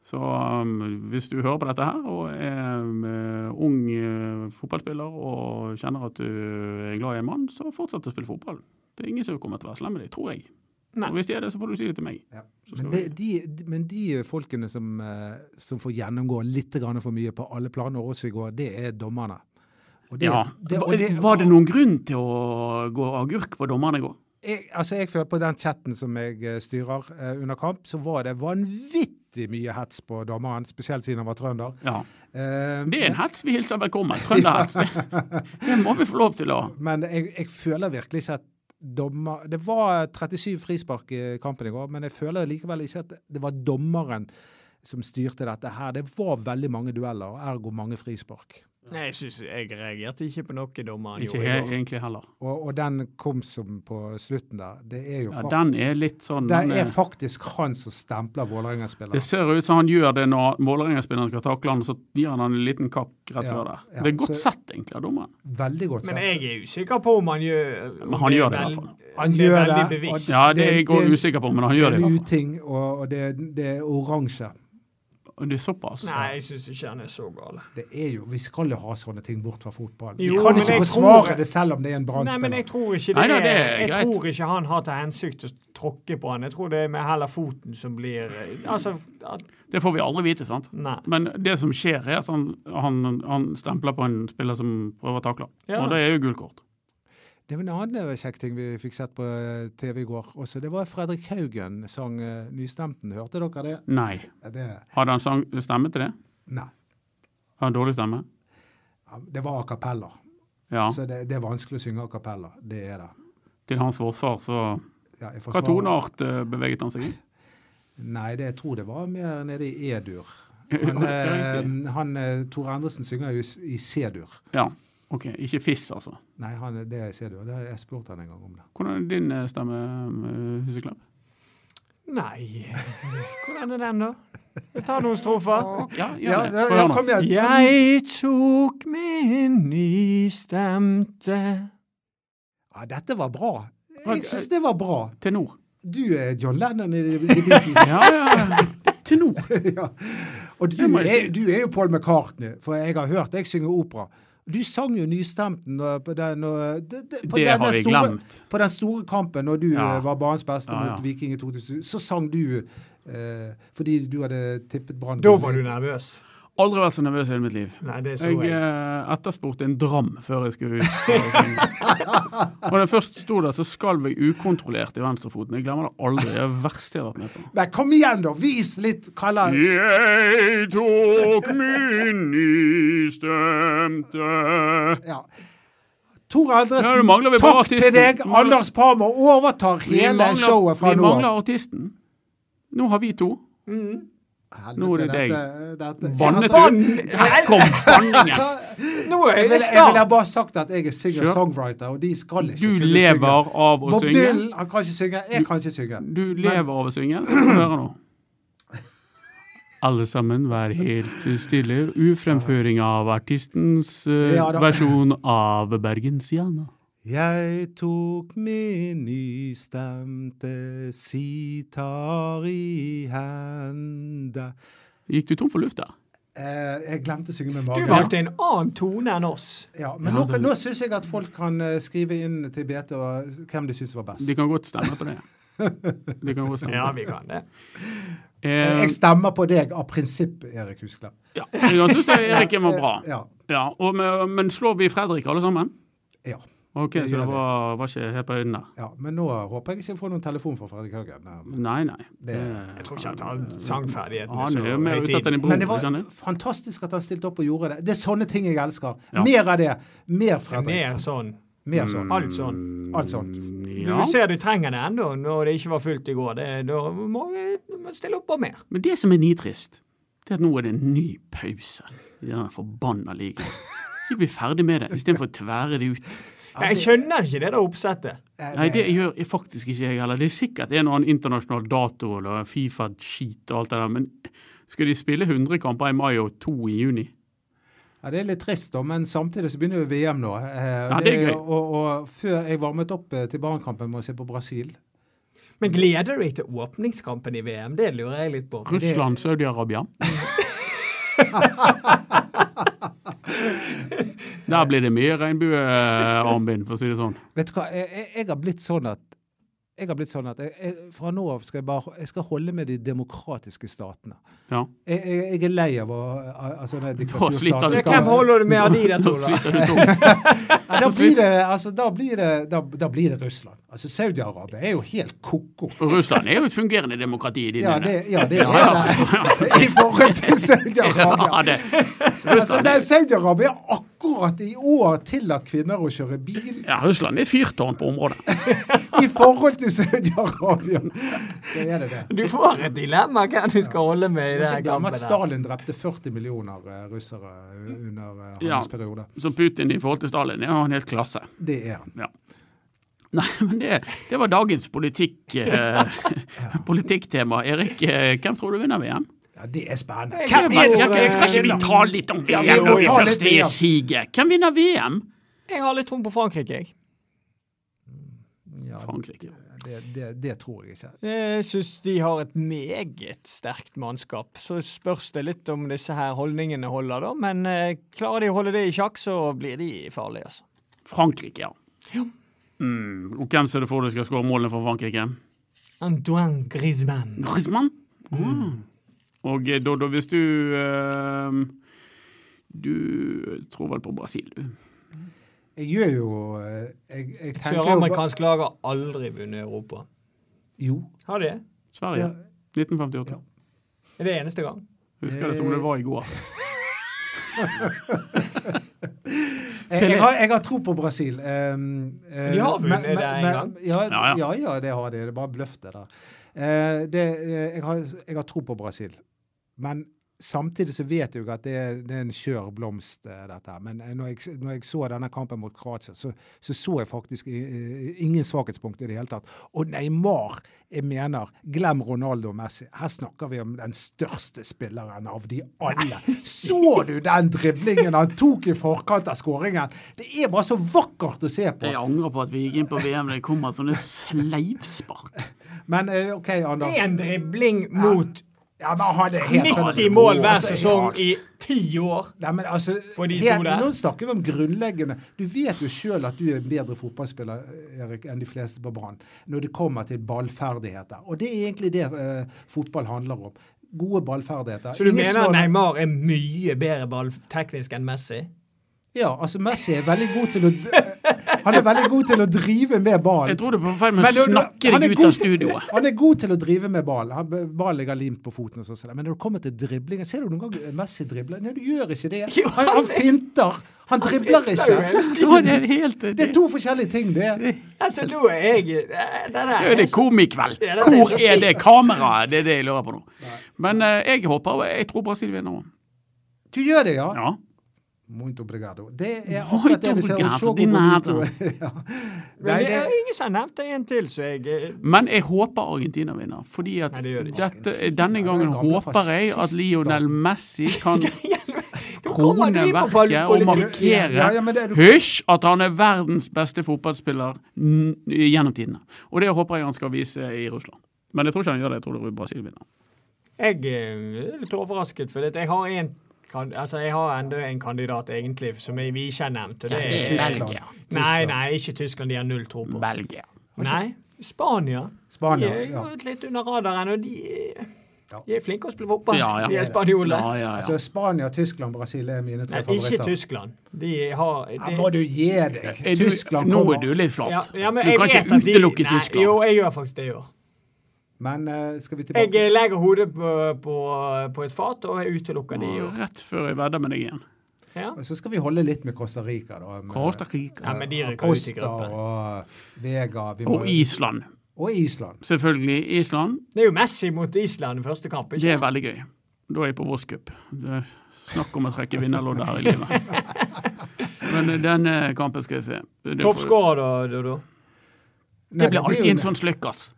Speaker 1: Så um, hvis du hører på dette her og er um, eh, ung eh, fotballspiller og kjenner at du er glad i en mann, så fortsett å spille fotball. Det er ingen som kommer til å være slemme med deg, tror jeg.
Speaker 3: Nei.
Speaker 1: Og hvis de er det, så får du si det til meg.
Speaker 2: Ja.
Speaker 1: Så
Speaker 2: Men,
Speaker 1: skal
Speaker 2: det, de, de- men de folkene som, eh, som får gjennomgå litt grann for mye på alle planer også i går, det er dommerne. Og det-
Speaker 1: ja.
Speaker 2: det- og det-
Speaker 1: Var det noen grunn til å gå agurk på dommerne i går?
Speaker 2: jeg, altså jeg føler på den chatten som jeg eh, styrer eh, under kamp, så var det vanvittig mye hets på dommeren, spesielt siden han var trønder.
Speaker 1: Ja.
Speaker 2: Eh,
Speaker 1: Det er en hets vi hilser velkommen. Trønderhets. Det, det må vi få lov til å
Speaker 2: Men jeg, jeg føler virkelig ikke at dommer Det var 37 frispark i kampen i går, men jeg føler likevel ikke at det var dommeren som styrte dette her. Det var veldig mange dueller, ergo mange frispark.
Speaker 3: Nei, jeg synes jeg reagerte ikke på noe dommeren
Speaker 1: Ikke
Speaker 3: gjorde i
Speaker 1: he-
Speaker 3: går.
Speaker 1: egentlig heller.
Speaker 2: Og, og den kom som på slutten der. Det er jo
Speaker 1: Ja,
Speaker 2: fak-
Speaker 1: den er litt sånn
Speaker 2: det
Speaker 1: den
Speaker 2: er faktisk han som stempler Vålerenga-spillere.
Speaker 1: Det ser ut som han gjør det når Vålerenga-spilleren skal takle han, og så gir han han en liten kakk rett
Speaker 2: Ja,
Speaker 1: før der.
Speaker 2: ja,
Speaker 1: det er godt
Speaker 2: så-
Speaker 1: sett, egentlig, av dommeren.
Speaker 2: Veldig godt
Speaker 3: Men
Speaker 2: sett.
Speaker 3: jeg er usikker på om han gjør
Speaker 1: Men han gjør det i hvert fall.
Speaker 2: Han
Speaker 3: det er
Speaker 2: gjør
Speaker 3: veldig
Speaker 2: det, og
Speaker 3: bevisst.
Speaker 1: Ja, det,
Speaker 2: Det-
Speaker 1: går
Speaker 2: det-
Speaker 1: jeg usikker på, men han gjør det. i
Speaker 2: det er
Speaker 1: hvert
Speaker 2: uting, og, og det, det er oransje.
Speaker 1: fall. Og Det er såpass.
Speaker 3: Nei, jeg syns ikke han er så gal.
Speaker 2: Det er jo, Vi skal jo ha sånne ting bort fra fotballen. Vi
Speaker 3: Jo,
Speaker 2: kan
Speaker 3: men
Speaker 2: ikke
Speaker 3: jeg
Speaker 2: forsvare
Speaker 3: tror-
Speaker 2: det selv om det er en
Speaker 3: Nei, men
Speaker 2: brannspiller.
Speaker 3: jeg tror ikke det
Speaker 1: Nei, nei,
Speaker 3: er,
Speaker 1: det er
Speaker 3: Jeg
Speaker 1: greit.
Speaker 3: tror ikke han har til hensikt å tråkke på han. Jeg tror det er med heller foten som blir eh, Altså at,
Speaker 1: Det får vi aldri vite, sant.
Speaker 3: Nei.
Speaker 1: Men det som skjer, er at han, han, han stempler på en spiller som prøver å takle han.
Speaker 3: Ja.
Speaker 1: Og det er jo gult kort.
Speaker 2: Det var en annen eh, kjekk ting vi fikk sett på eh, TV i går også. Det var Fredrik Haugen sang eh, Nystemten. Hørte dere det?
Speaker 1: Nei.
Speaker 2: Ja, det?
Speaker 1: Hadde han sang, stemme til det?
Speaker 2: Nei.
Speaker 1: Har han dårlig stemme?
Speaker 2: Ja, Det var a cappella.
Speaker 1: Ja.
Speaker 2: Så det, det er vanskelig å synge a cappella. Det er det.
Speaker 1: Til hans forsvar, så
Speaker 2: Ja, jeg
Speaker 1: Hva
Speaker 2: forsvarer-
Speaker 1: toneart eh, beveget han seg i?
Speaker 2: Nei, det, jeg tror det var mer nede i E-dur.
Speaker 1: Ja,
Speaker 2: Han,
Speaker 1: det er riktig.
Speaker 2: eh, han, eh, Tore Endresen synger jo i s- i C-dur.
Speaker 1: Ja. OK. Ikke fiss, altså.
Speaker 2: Nei, han, det er C-dur. Det har jeg spurt han en gang om det.
Speaker 1: Hvordan er din eh, stemme, eh, Huseklepp?
Speaker 3: Nei Hvordan er den, da? Jeg tar noen strofer.
Speaker 1: Ja,
Speaker 2: Ja,
Speaker 1: gjør det.
Speaker 2: ja,
Speaker 1: Få høre
Speaker 2: ja,
Speaker 1: nå.
Speaker 2: kom igjen.
Speaker 3: Jeg tok min nystemte
Speaker 2: Ja, dette var bra. Jeg syns det var bra.
Speaker 1: Tenor.
Speaker 2: Du er John Lennon i The Beatles.
Speaker 1: Ja, ja. Tenor.
Speaker 2: ja. Og du
Speaker 1: Det må jeg
Speaker 2: er, du er jo Paul McCartney, for jeg har hørt deg synge opera. Du sang jo nystemten når- på den, når- d- d- på
Speaker 1: Det
Speaker 2: den-
Speaker 1: har
Speaker 2: den
Speaker 1: jeg
Speaker 2: store-
Speaker 1: glemt.
Speaker 2: På den store kampen når du
Speaker 1: Ja.
Speaker 2: eh, var banens beste
Speaker 1: Ja, ja.
Speaker 2: mot Viking i 2000, så sang du eh, fordi du hadde tippet Brann.
Speaker 3: Da var du nervøs.
Speaker 1: Aldri vært så nervøs i hele mitt liv.
Speaker 3: Nei, det så
Speaker 1: Jeg
Speaker 3: jeg.
Speaker 1: eh, etterspurte en dram før jeg skulle ut. og da jeg først sto der, så skalv jeg ukontrollert i venstrefoten. Jeg glemmer det aldri. Det er det verste jeg har vært med på.
Speaker 2: Men kom igjen, da! Vis litt! Kalla
Speaker 1: Mm. Jeg tok min nystemte
Speaker 2: ja. Tor
Speaker 1: Ja, du
Speaker 2: Andresen,
Speaker 1: mangler vel
Speaker 2: takk
Speaker 1: bare
Speaker 2: til
Speaker 1: artisten.
Speaker 2: deg!
Speaker 1: Du mangler-
Speaker 2: Anders Parmer overtar
Speaker 1: Vi
Speaker 2: hele
Speaker 1: mangler-
Speaker 2: showet fra
Speaker 1: Vi
Speaker 2: nå av.
Speaker 1: mangler artisten. Nå har vi to.
Speaker 2: Helvete,
Speaker 1: Nå er det deg.
Speaker 2: dette- dette-
Speaker 1: Bannet
Speaker 2: Jeg,
Speaker 1: du? Her kom banningen!
Speaker 3: Nå
Speaker 2: vil,
Speaker 3: er jeg
Speaker 2: jeg vil ha
Speaker 3: snart
Speaker 2: bare sagt at jeg er
Speaker 1: Sure.
Speaker 2: singer-songwriter, og de skal ikke
Speaker 1: Du
Speaker 2: kunne
Speaker 1: lever
Speaker 2: synge.
Speaker 1: av å
Speaker 2: Bob
Speaker 1: synge.
Speaker 2: Dylan han kan ikke synge, jeg kan ikke synge.
Speaker 1: Du lever av å synge. Så får du høre nå. Alle sammen, vær helt stille. Ufremføring av artistens eh,
Speaker 2: Ja da.
Speaker 1: versjon av Bergensiana.
Speaker 2: Jeg tok min nystemte sitar i henda
Speaker 1: Gikk du tom for luft der?
Speaker 2: eh, Jeg glemte å synge med
Speaker 3: Du
Speaker 2: magen.
Speaker 3: valgte en annen tone enn oss.
Speaker 2: Ja, men nå, nå syns jeg at folk kan eh, skrive inn til BT og hvem de syns var best.
Speaker 1: De kan godt stemme på det. Vi kan godt snakke.
Speaker 3: Ja, vi kan det.
Speaker 1: Eh,
Speaker 2: Jeg stemmer på deg av prinsipp, Erik Huskland. Eh,
Speaker 1: ja. Jeg syns Erik var bra.
Speaker 2: Ja.
Speaker 1: Ja, og med, men slår vi Fredrik alle sammen?
Speaker 2: ja.
Speaker 1: Ok,
Speaker 2: Det
Speaker 1: Så
Speaker 2: gjør
Speaker 1: det
Speaker 2: vi.
Speaker 1: var, var ikke helt på øynene.
Speaker 2: ja. Men nå håper jeg ikke jeg får noen telefon fra Fredrik Høgen. Men-
Speaker 1: Nei, nei.
Speaker 3: Jeg tror ikke at han sangferdighetene
Speaker 1: Han er jo mer ute etter din bror.
Speaker 2: Men det var
Speaker 1: ikke sant?
Speaker 2: fantastisk at han stilte opp og gjorde det. Det er sånne ting jeg elsker.
Speaker 1: Ja.
Speaker 2: Mer av det. Mer Fredrik.
Speaker 3: Mer sånn.
Speaker 2: Mer sånn.
Speaker 3: Alt sånn.
Speaker 1: Mm.
Speaker 2: Alt sånt.
Speaker 1: Eh, Ja.
Speaker 3: Du ser du trenger det ennå, når det ikke var fullt i går. Det, da må vi må stille opp og mer.
Speaker 1: Men det som er nitrist, det er at nå er det en ny pause i den forbanna ligaen. Vi blir ferdig med det, istedenfor å tvære det ut.
Speaker 3: Jeg skjønner ikke det der oppsettet.
Speaker 1: Nei, det gjør jeg faktisk ikke jeg heller. Det er sikkert en og annen internasjonal dato eller Fifa-skit og alt det der, men skal de spille 100 kamper i mai og to i juni?
Speaker 2: Ja, Det er litt trist, da, men samtidig så begynner jo VM nå. Eh,
Speaker 1: Ja, det er gøy.
Speaker 2: Og, og før jeg varmet opp eh, til Barnekampen med å se på Brasil
Speaker 3: Men gleder du deg til åpningskampen i VM? Det lurer jeg litt på.
Speaker 1: Russland, Saudi-Arabia? Der blir det mye regnbuearmbind, for å si det sånn.
Speaker 2: Vet du hva, jeg, jeg, jeg har blitt sånn at jeg har blitt sånn at jeg, jeg, Fra nå av skal jeg bare jeg skal holde med de demokratiske statene.
Speaker 1: Ja.
Speaker 2: Jeg, jeg, jeg er lei av å altså, når
Speaker 1: sliter du.
Speaker 3: Men
Speaker 1: Det
Speaker 3: Hvem holder du med av de der to,
Speaker 1: Da
Speaker 3: da?
Speaker 1: sliter du tungt.
Speaker 2: Ja, da blir det, altså, da blir det, da, da blir det Russland. Altså, Saudi-Arabia er jo helt ko-ko.
Speaker 1: Og Russland er jo et fungerende demokrati i dine
Speaker 2: Ja,
Speaker 1: øyne.
Speaker 2: det, ja, det er det. I forhold til Saudi-Arabia.
Speaker 1: Ja, det.
Speaker 2: Altså, det er Saudi-Arabia har akkurat i år tillatt kvinner å kjøre bil
Speaker 1: Ja, Russland er et fyrtårn på området.
Speaker 2: i forhold til Saudi-Arabia. Så er det det.
Speaker 3: Du får et dilemma hvem du skal holde med i
Speaker 2: Jeg må ikke
Speaker 3: den
Speaker 2: glemme at
Speaker 3: kampen. der.
Speaker 2: Stalin drepte 40 millioner eh, russere under eh, hans
Speaker 1: Ja.
Speaker 2: periode.
Speaker 1: Så Putin i forhold til Stalin er jo en helt klasse.
Speaker 2: Det er han.
Speaker 1: Ja. Nei, men det, det var dagens politikk, eh, politikktema. Erik, eh, hvem tror du vinner VM?
Speaker 2: Ja, det er spennende.
Speaker 3: Jeg
Speaker 2: Hvem
Speaker 3: tror-
Speaker 2: er det
Speaker 1: Ja,
Speaker 2: som
Speaker 3: jeg
Speaker 1: skal ikke vi
Speaker 2: vinner?
Speaker 1: ta litt om
Speaker 2: eh, Ja,
Speaker 1: VM
Speaker 2: vi må
Speaker 1: når vi
Speaker 2: ta litt
Speaker 1: først er i
Speaker 2: VM.
Speaker 1: siget? Hvem vinner VM?
Speaker 3: Jeg har litt troen på Frankrike, jeg.
Speaker 2: Ja,
Speaker 1: Frankrike.
Speaker 2: det, det, det tror jeg ikke.
Speaker 3: Jeg syns de har et meget sterkt mannskap. Så spørs det litt om disse her holdningene holder, da. Men eh, klarer de å holde det i sjakk, så blir de farlige, altså.
Speaker 1: Frankrike, ja. Mm, og hvem ser du for deg skal skåre målene for Frankrike?
Speaker 3: Antoine Griezmann.
Speaker 1: Griezmann. Mm. Og eh, Doddo, hvis du eh, Du tror vel på Brasil, du?
Speaker 2: Jeg gjør jo eh, Jeg, jeg tenker jo ba-
Speaker 3: Søramerikansk lag har aldri vunnet Europa.
Speaker 2: Jo.
Speaker 3: Har de det?
Speaker 1: Sverige. 1958.
Speaker 3: Er det eneste gang?
Speaker 1: Husker det som om det var i går.
Speaker 2: Jeg, jeg, har, jeg har tro på Brasil. Um, eh,
Speaker 3: De har
Speaker 2: men-
Speaker 3: vunnet det
Speaker 2: men-
Speaker 3: en
Speaker 2: men-
Speaker 3: gang.
Speaker 2: Ja,
Speaker 1: Ja, ja.
Speaker 2: ja, ja, det har de. Det er bare bløff, det der. Eh, det, eh, jeg, har, jeg har tro på Brasil. Men samtidig så vet jeg jo at det er, det er en skjør blomst, eh, dette her. Men eh, når jeg, når jeg så denne kampen mot Kroatia, så så, så jeg faktisk i- i- ingen svakhetspunkt i det hele tatt. Og Neymar, jeg mener, glem Ronaldo og Messi. Her snakker vi om den største spilleren av de alle. Så du den driblingen han tok i forkant av skåringen? Det er bare så vakkert å se på.
Speaker 1: Jeg angrer på at vi gikk inn på VM. Det kommer sånne sleivspark.
Speaker 2: Men eh, OK, Anders.
Speaker 3: Én dribling mot
Speaker 2: Ja, men han er helt
Speaker 3: 90 mål hver
Speaker 2: Altså,
Speaker 3: sesong
Speaker 2: helt-
Speaker 3: i ti år.
Speaker 2: Nei, men altså,
Speaker 3: For de to
Speaker 2: helt,
Speaker 3: der.
Speaker 2: Nå snakker vi om grunnleggende. Du vet jo sjøl at du er en bedre fotballspiller Erik, enn de fleste på Brann når det kommer til ballferdigheter. Og det er egentlig det eh, fotball handler om. Gode ballferdigheter.
Speaker 3: Så du
Speaker 2: Ingen
Speaker 3: mener
Speaker 2: slår-
Speaker 3: Neymar er mye bedre ballteknisk enn Messi?
Speaker 2: Ja, altså Messi er veldig god til å eh, Han er veldig god til å drive med ballen.
Speaker 1: Jeg tror du er på feil med
Speaker 2: Men
Speaker 1: å
Speaker 2: når-
Speaker 1: snakke
Speaker 2: han er
Speaker 1: deg ut
Speaker 2: god
Speaker 1: av
Speaker 2: til-
Speaker 1: studioet.
Speaker 2: Han er god til å drive med ball. Han, ball ligger limt på foten. og sånn. sånn. Men når det kommer til driblingen, ser du noen gang Messi dribler? Nei, du gjør ikke det. Han, han finter. Han dribler ikke.
Speaker 1: Ja, det er helt
Speaker 2: Det er to forskjellige ting, det.
Speaker 3: Altså, da er jeg eh, det der
Speaker 1: Det er jo det komikveld.
Speaker 3: Ja, det er
Speaker 1: Hvor
Speaker 3: så
Speaker 1: er
Speaker 3: skikkelig.
Speaker 1: det kameraet? Det er det jeg lurer på nå. Men eh, jeg håper Jeg tror Brasil vinner òg.
Speaker 2: Du gjør det, ja.
Speaker 1: Ja.
Speaker 2: Muito obrigado. Det er
Speaker 1: Muito
Speaker 2: akkurat det vi ser.
Speaker 1: obrigado,
Speaker 2: Og så
Speaker 1: de
Speaker 2: går
Speaker 1: nada.
Speaker 2: bonito. Ja.
Speaker 3: Men
Speaker 2: Nei,
Speaker 3: det er
Speaker 2: det,
Speaker 3: ingen som har nevnt en til, så jeg eh,
Speaker 1: Men jeg håper Argentina vinner. Fordi at
Speaker 3: Nei, det gjør de ikke.
Speaker 1: dette, denne
Speaker 2: Argentina,
Speaker 1: gangen
Speaker 2: den gamle
Speaker 1: håper jeg at Lionel
Speaker 2: fasciststaten.
Speaker 1: Messi kan
Speaker 3: Nå kommer de på
Speaker 1: kroneverket og
Speaker 3: politikk igjen.
Speaker 2: Ja,
Speaker 1: markere
Speaker 2: ja, men det er du-
Speaker 1: Hysj! At han er verdens beste fotballspiller n- gjennom tidene. Og det håper jeg han skal vise i Russland. Men jeg tror ikke han gjør det. Jeg tror det er Brasil vinner.
Speaker 3: Jeg eh, er litt overrasket, for jeg har en kan- Altså, jeg har enda en kandidat, egentlig, som jeg, vi ikke har nevnt. Og det
Speaker 1: det
Speaker 3: er
Speaker 1: er Belgia.
Speaker 3: Nei, nei, ikke Tyskland. De har null tro på.
Speaker 1: Belgia.
Speaker 3: Nei. Spania.
Speaker 2: Spania,
Speaker 3: De
Speaker 2: Ah,
Speaker 3: er
Speaker 2: ja.
Speaker 3: gått litt under radaren, og de,
Speaker 2: Ja.
Speaker 3: de er flinke å spille fotball,
Speaker 1: Ja, ja.
Speaker 3: de er spanjoler.
Speaker 1: Ja, ja, ja.
Speaker 2: Altså, Spania, Tyskland, Brasil er mine
Speaker 3: Nei,
Speaker 2: tre
Speaker 3: ikke
Speaker 2: favoritter.
Speaker 3: Tyskland. De har de,
Speaker 2: Ja, må du gi deg!
Speaker 1: Er du,
Speaker 2: Tyskland
Speaker 1: nå er
Speaker 2: kommer.
Speaker 1: du litt
Speaker 3: Ja,
Speaker 1: flat.
Speaker 3: ja, men
Speaker 1: du
Speaker 3: jeg
Speaker 1: kan
Speaker 3: vet
Speaker 1: ikke
Speaker 3: at de-
Speaker 1: utelukke
Speaker 3: nei,
Speaker 1: Tyskland.
Speaker 3: Jo, jeg gjør faktisk det i år.
Speaker 2: Men eh, skal vi
Speaker 3: Jeg
Speaker 2: tilbake
Speaker 3: eh, legger hodet på, på, på et fat, og jeg utelukker de i
Speaker 1: Og
Speaker 3: år.
Speaker 1: Rett før jeg vedder med deg igjen.
Speaker 3: Ja.
Speaker 2: Så skal vi holde litt med Costa Rica, da. med-
Speaker 1: Costa Rica.
Speaker 3: Ja, men de rykker ut i
Speaker 2: Costa
Speaker 3: gruppen.
Speaker 2: og Vega vi må,
Speaker 1: Og Island.
Speaker 2: og Island.
Speaker 1: Selvfølgelig Island.
Speaker 3: Det er jo Messi mot Island i første kamp.
Speaker 1: Det
Speaker 3: ikke?
Speaker 1: er veldig gøy. Da er jeg på Voss Cup. Det er Snakk om å trekke vinnerloddet her i livet. Men denne kampen skal jeg se. Det får-
Speaker 3: Toppskårer, da, Dodo.
Speaker 2: Nei,
Speaker 1: Det blir
Speaker 2: jo-
Speaker 1: alltid en sånn sløkkas.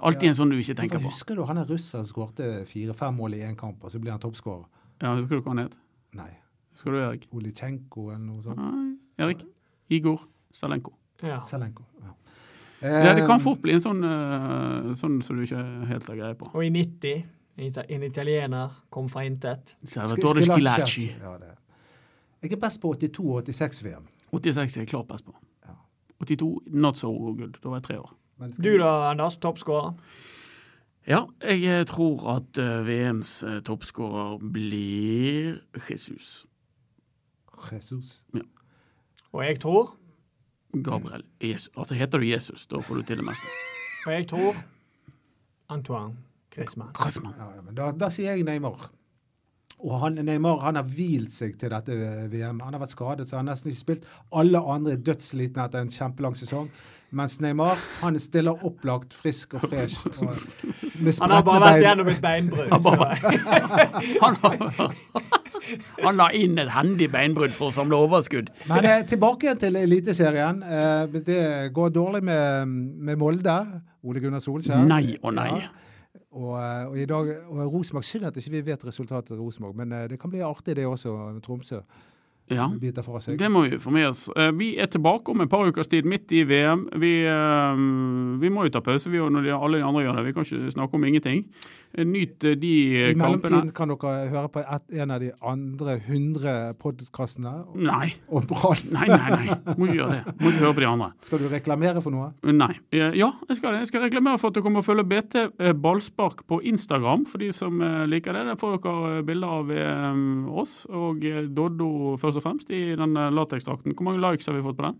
Speaker 1: Alltid en sånn du ikke tenker
Speaker 2: Hvorfor
Speaker 1: på.
Speaker 2: Husker du han er russer som skårte fire-fem mål i én kamp, og så blir han toppskårer?
Speaker 1: Ja, Husker du hva han het?
Speaker 2: Nei.
Speaker 1: Husker du Erik?
Speaker 2: Olitsjenko eller noe sånt.
Speaker 1: Nei, Erik. Igor Salenko.
Speaker 3: Ja.
Speaker 2: Zelenko. Ja.
Speaker 1: Ja, det kan
Speaker 2: Eh,
Speaker 1: fort bli en sånn, eh, sånn som du ikke helt har greie på.
Speaker 3: Og i 90, en ita- en italiener kom fra intet.
Speaker 2: Sk-
Speaker 1: Salvatore
Speaker 2: Skilacci.
Speaker 1: Scilacci.
Speaker 2: Ja, det. altså? Jeg er best på 82- og 86-VM.
Speaker 1: 86 er jeg klar best på. 82 not so good. Da var jeg tre år.
Speaker 3: Du da, Anders, toppskårer.
Speaker 1: Ja, jeg eh, tror at eh, VMs eh, toppskårer blir Jesus.
Speaker 2: Jesus.
Speaker 3: Og jeg tror,
Speaker 1: Gabriel Jesus. Altså, heter du Jesus, da får du til det meste.
Speaker 3: og jeg tror Antoine Griezmann.
Speaker 1: Rasmann.
Speaker 2: Ja, ja, men da, da sier jeg Neymar. Og han, Neymar han har hvilt seg til dette eh, VM. Han har vært skadet, så han har nesten ikke spilt. Alle andre er dødsslitne etter en kjempelang sesong. Mens Neymar han stiller opplagt, frisk og fresh. Og med
Speaker 3: Han har bare vært
Speaker 2: spretne
Speaker 3: gjennom et beinbrudd. så-
Speaker 1: Han, har- han la inn et hendig beinbrudd for å samle overskudd.
Speaker 2: Men eh, tilbake igjen til Eliteserien. Eh, det går dårlig med, med Molde. Ole Gunnar Solskjær.
Speaker 1: Nei og nei.
Speaker 2: Ja. Og, eh, og i dag, og Rosenborg, Synd at ikke vi vet resultatet til Rosenborg, men eh, det kan bli artig det også. Tromsø
Speaker 1: Ja.
Speaker 2: biter fra seg.
Speaker 1: Det må vi få med oss. Eh, Vi er tilbake om et par ukers tid, midt i VM. Vi, eh, vi må jo ta pause vi, og når de, alle de andre gjør det. Vi kan ikke snakke om ingenting. Eh, Nyt eh, de eh,
Speaker 2: I mellomtiden
Speaker 1: kampene.
Speaker 2: kan dere høre på et, en av de andre 100 podkastene
Speaker 1: Nei.
Speaker 2: om Brann.
Speaker 1: Nei, nei, nei. Må ikke gjøre det. Må ikke høre på de andre.
Speaker 2: Skal du reklamere for noe?
Speaker 1: Nei. Eh, Ja, jeg skal det. Jeg skal reklamere for at dere må følge BT eh, Ballspark på Instagram, for de som eh, liker det. Der får dere eh, bilder av eh, oss og eh, Doddo først og fremst i den eh, lateksdrakten. Hvor mange likes har vi fått på den?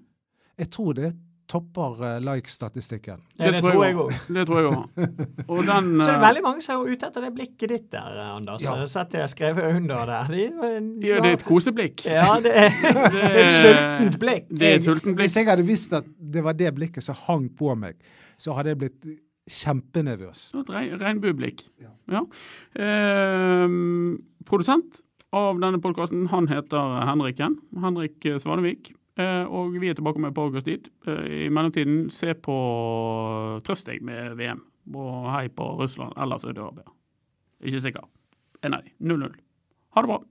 Speaker 2: Jeg tror det topper eh, like-statistikken.
Speaker 3: Ja, det tror jeg
Speaker 1: også.
Speaker 3: òg.
Speaker 1: Det tror jeg òg. Og den
Speaker 3: Så det
Speaker 1: eh,
Speaker 3: er veldig mange som er ute etter det blikket ditt der, Anders.
Speaker 2: Ja.
Speaker 3: Ja. Sett det jeg har skrevet under der. De,
Speaker 1: Ja, det er et koseblikk.
Speaker 3: Ja, det er, det er et sultent blikk.
Speaker 1: Det er et sultent
Speaker 2: Hvis
Speaker 1: blikk.
Speaker 2: jeg hadde visst at det var det blikket som hang på meg, så hadde jeg blitt kjempenervøs.
Speaker 1: Det er Et rein- regnbueblikk. Ja. Ehm, produsent av denne podkasten, han heter Henriken. Henrik Svanevik. Eh, og vi er tilbake med Powercast dit. Eh, I mellomtiden, se på Trøst deg med VM. Og hei på Russland eller Saudi-Arabia. Ikke sikker. En av de. 0-0. Ha det bra.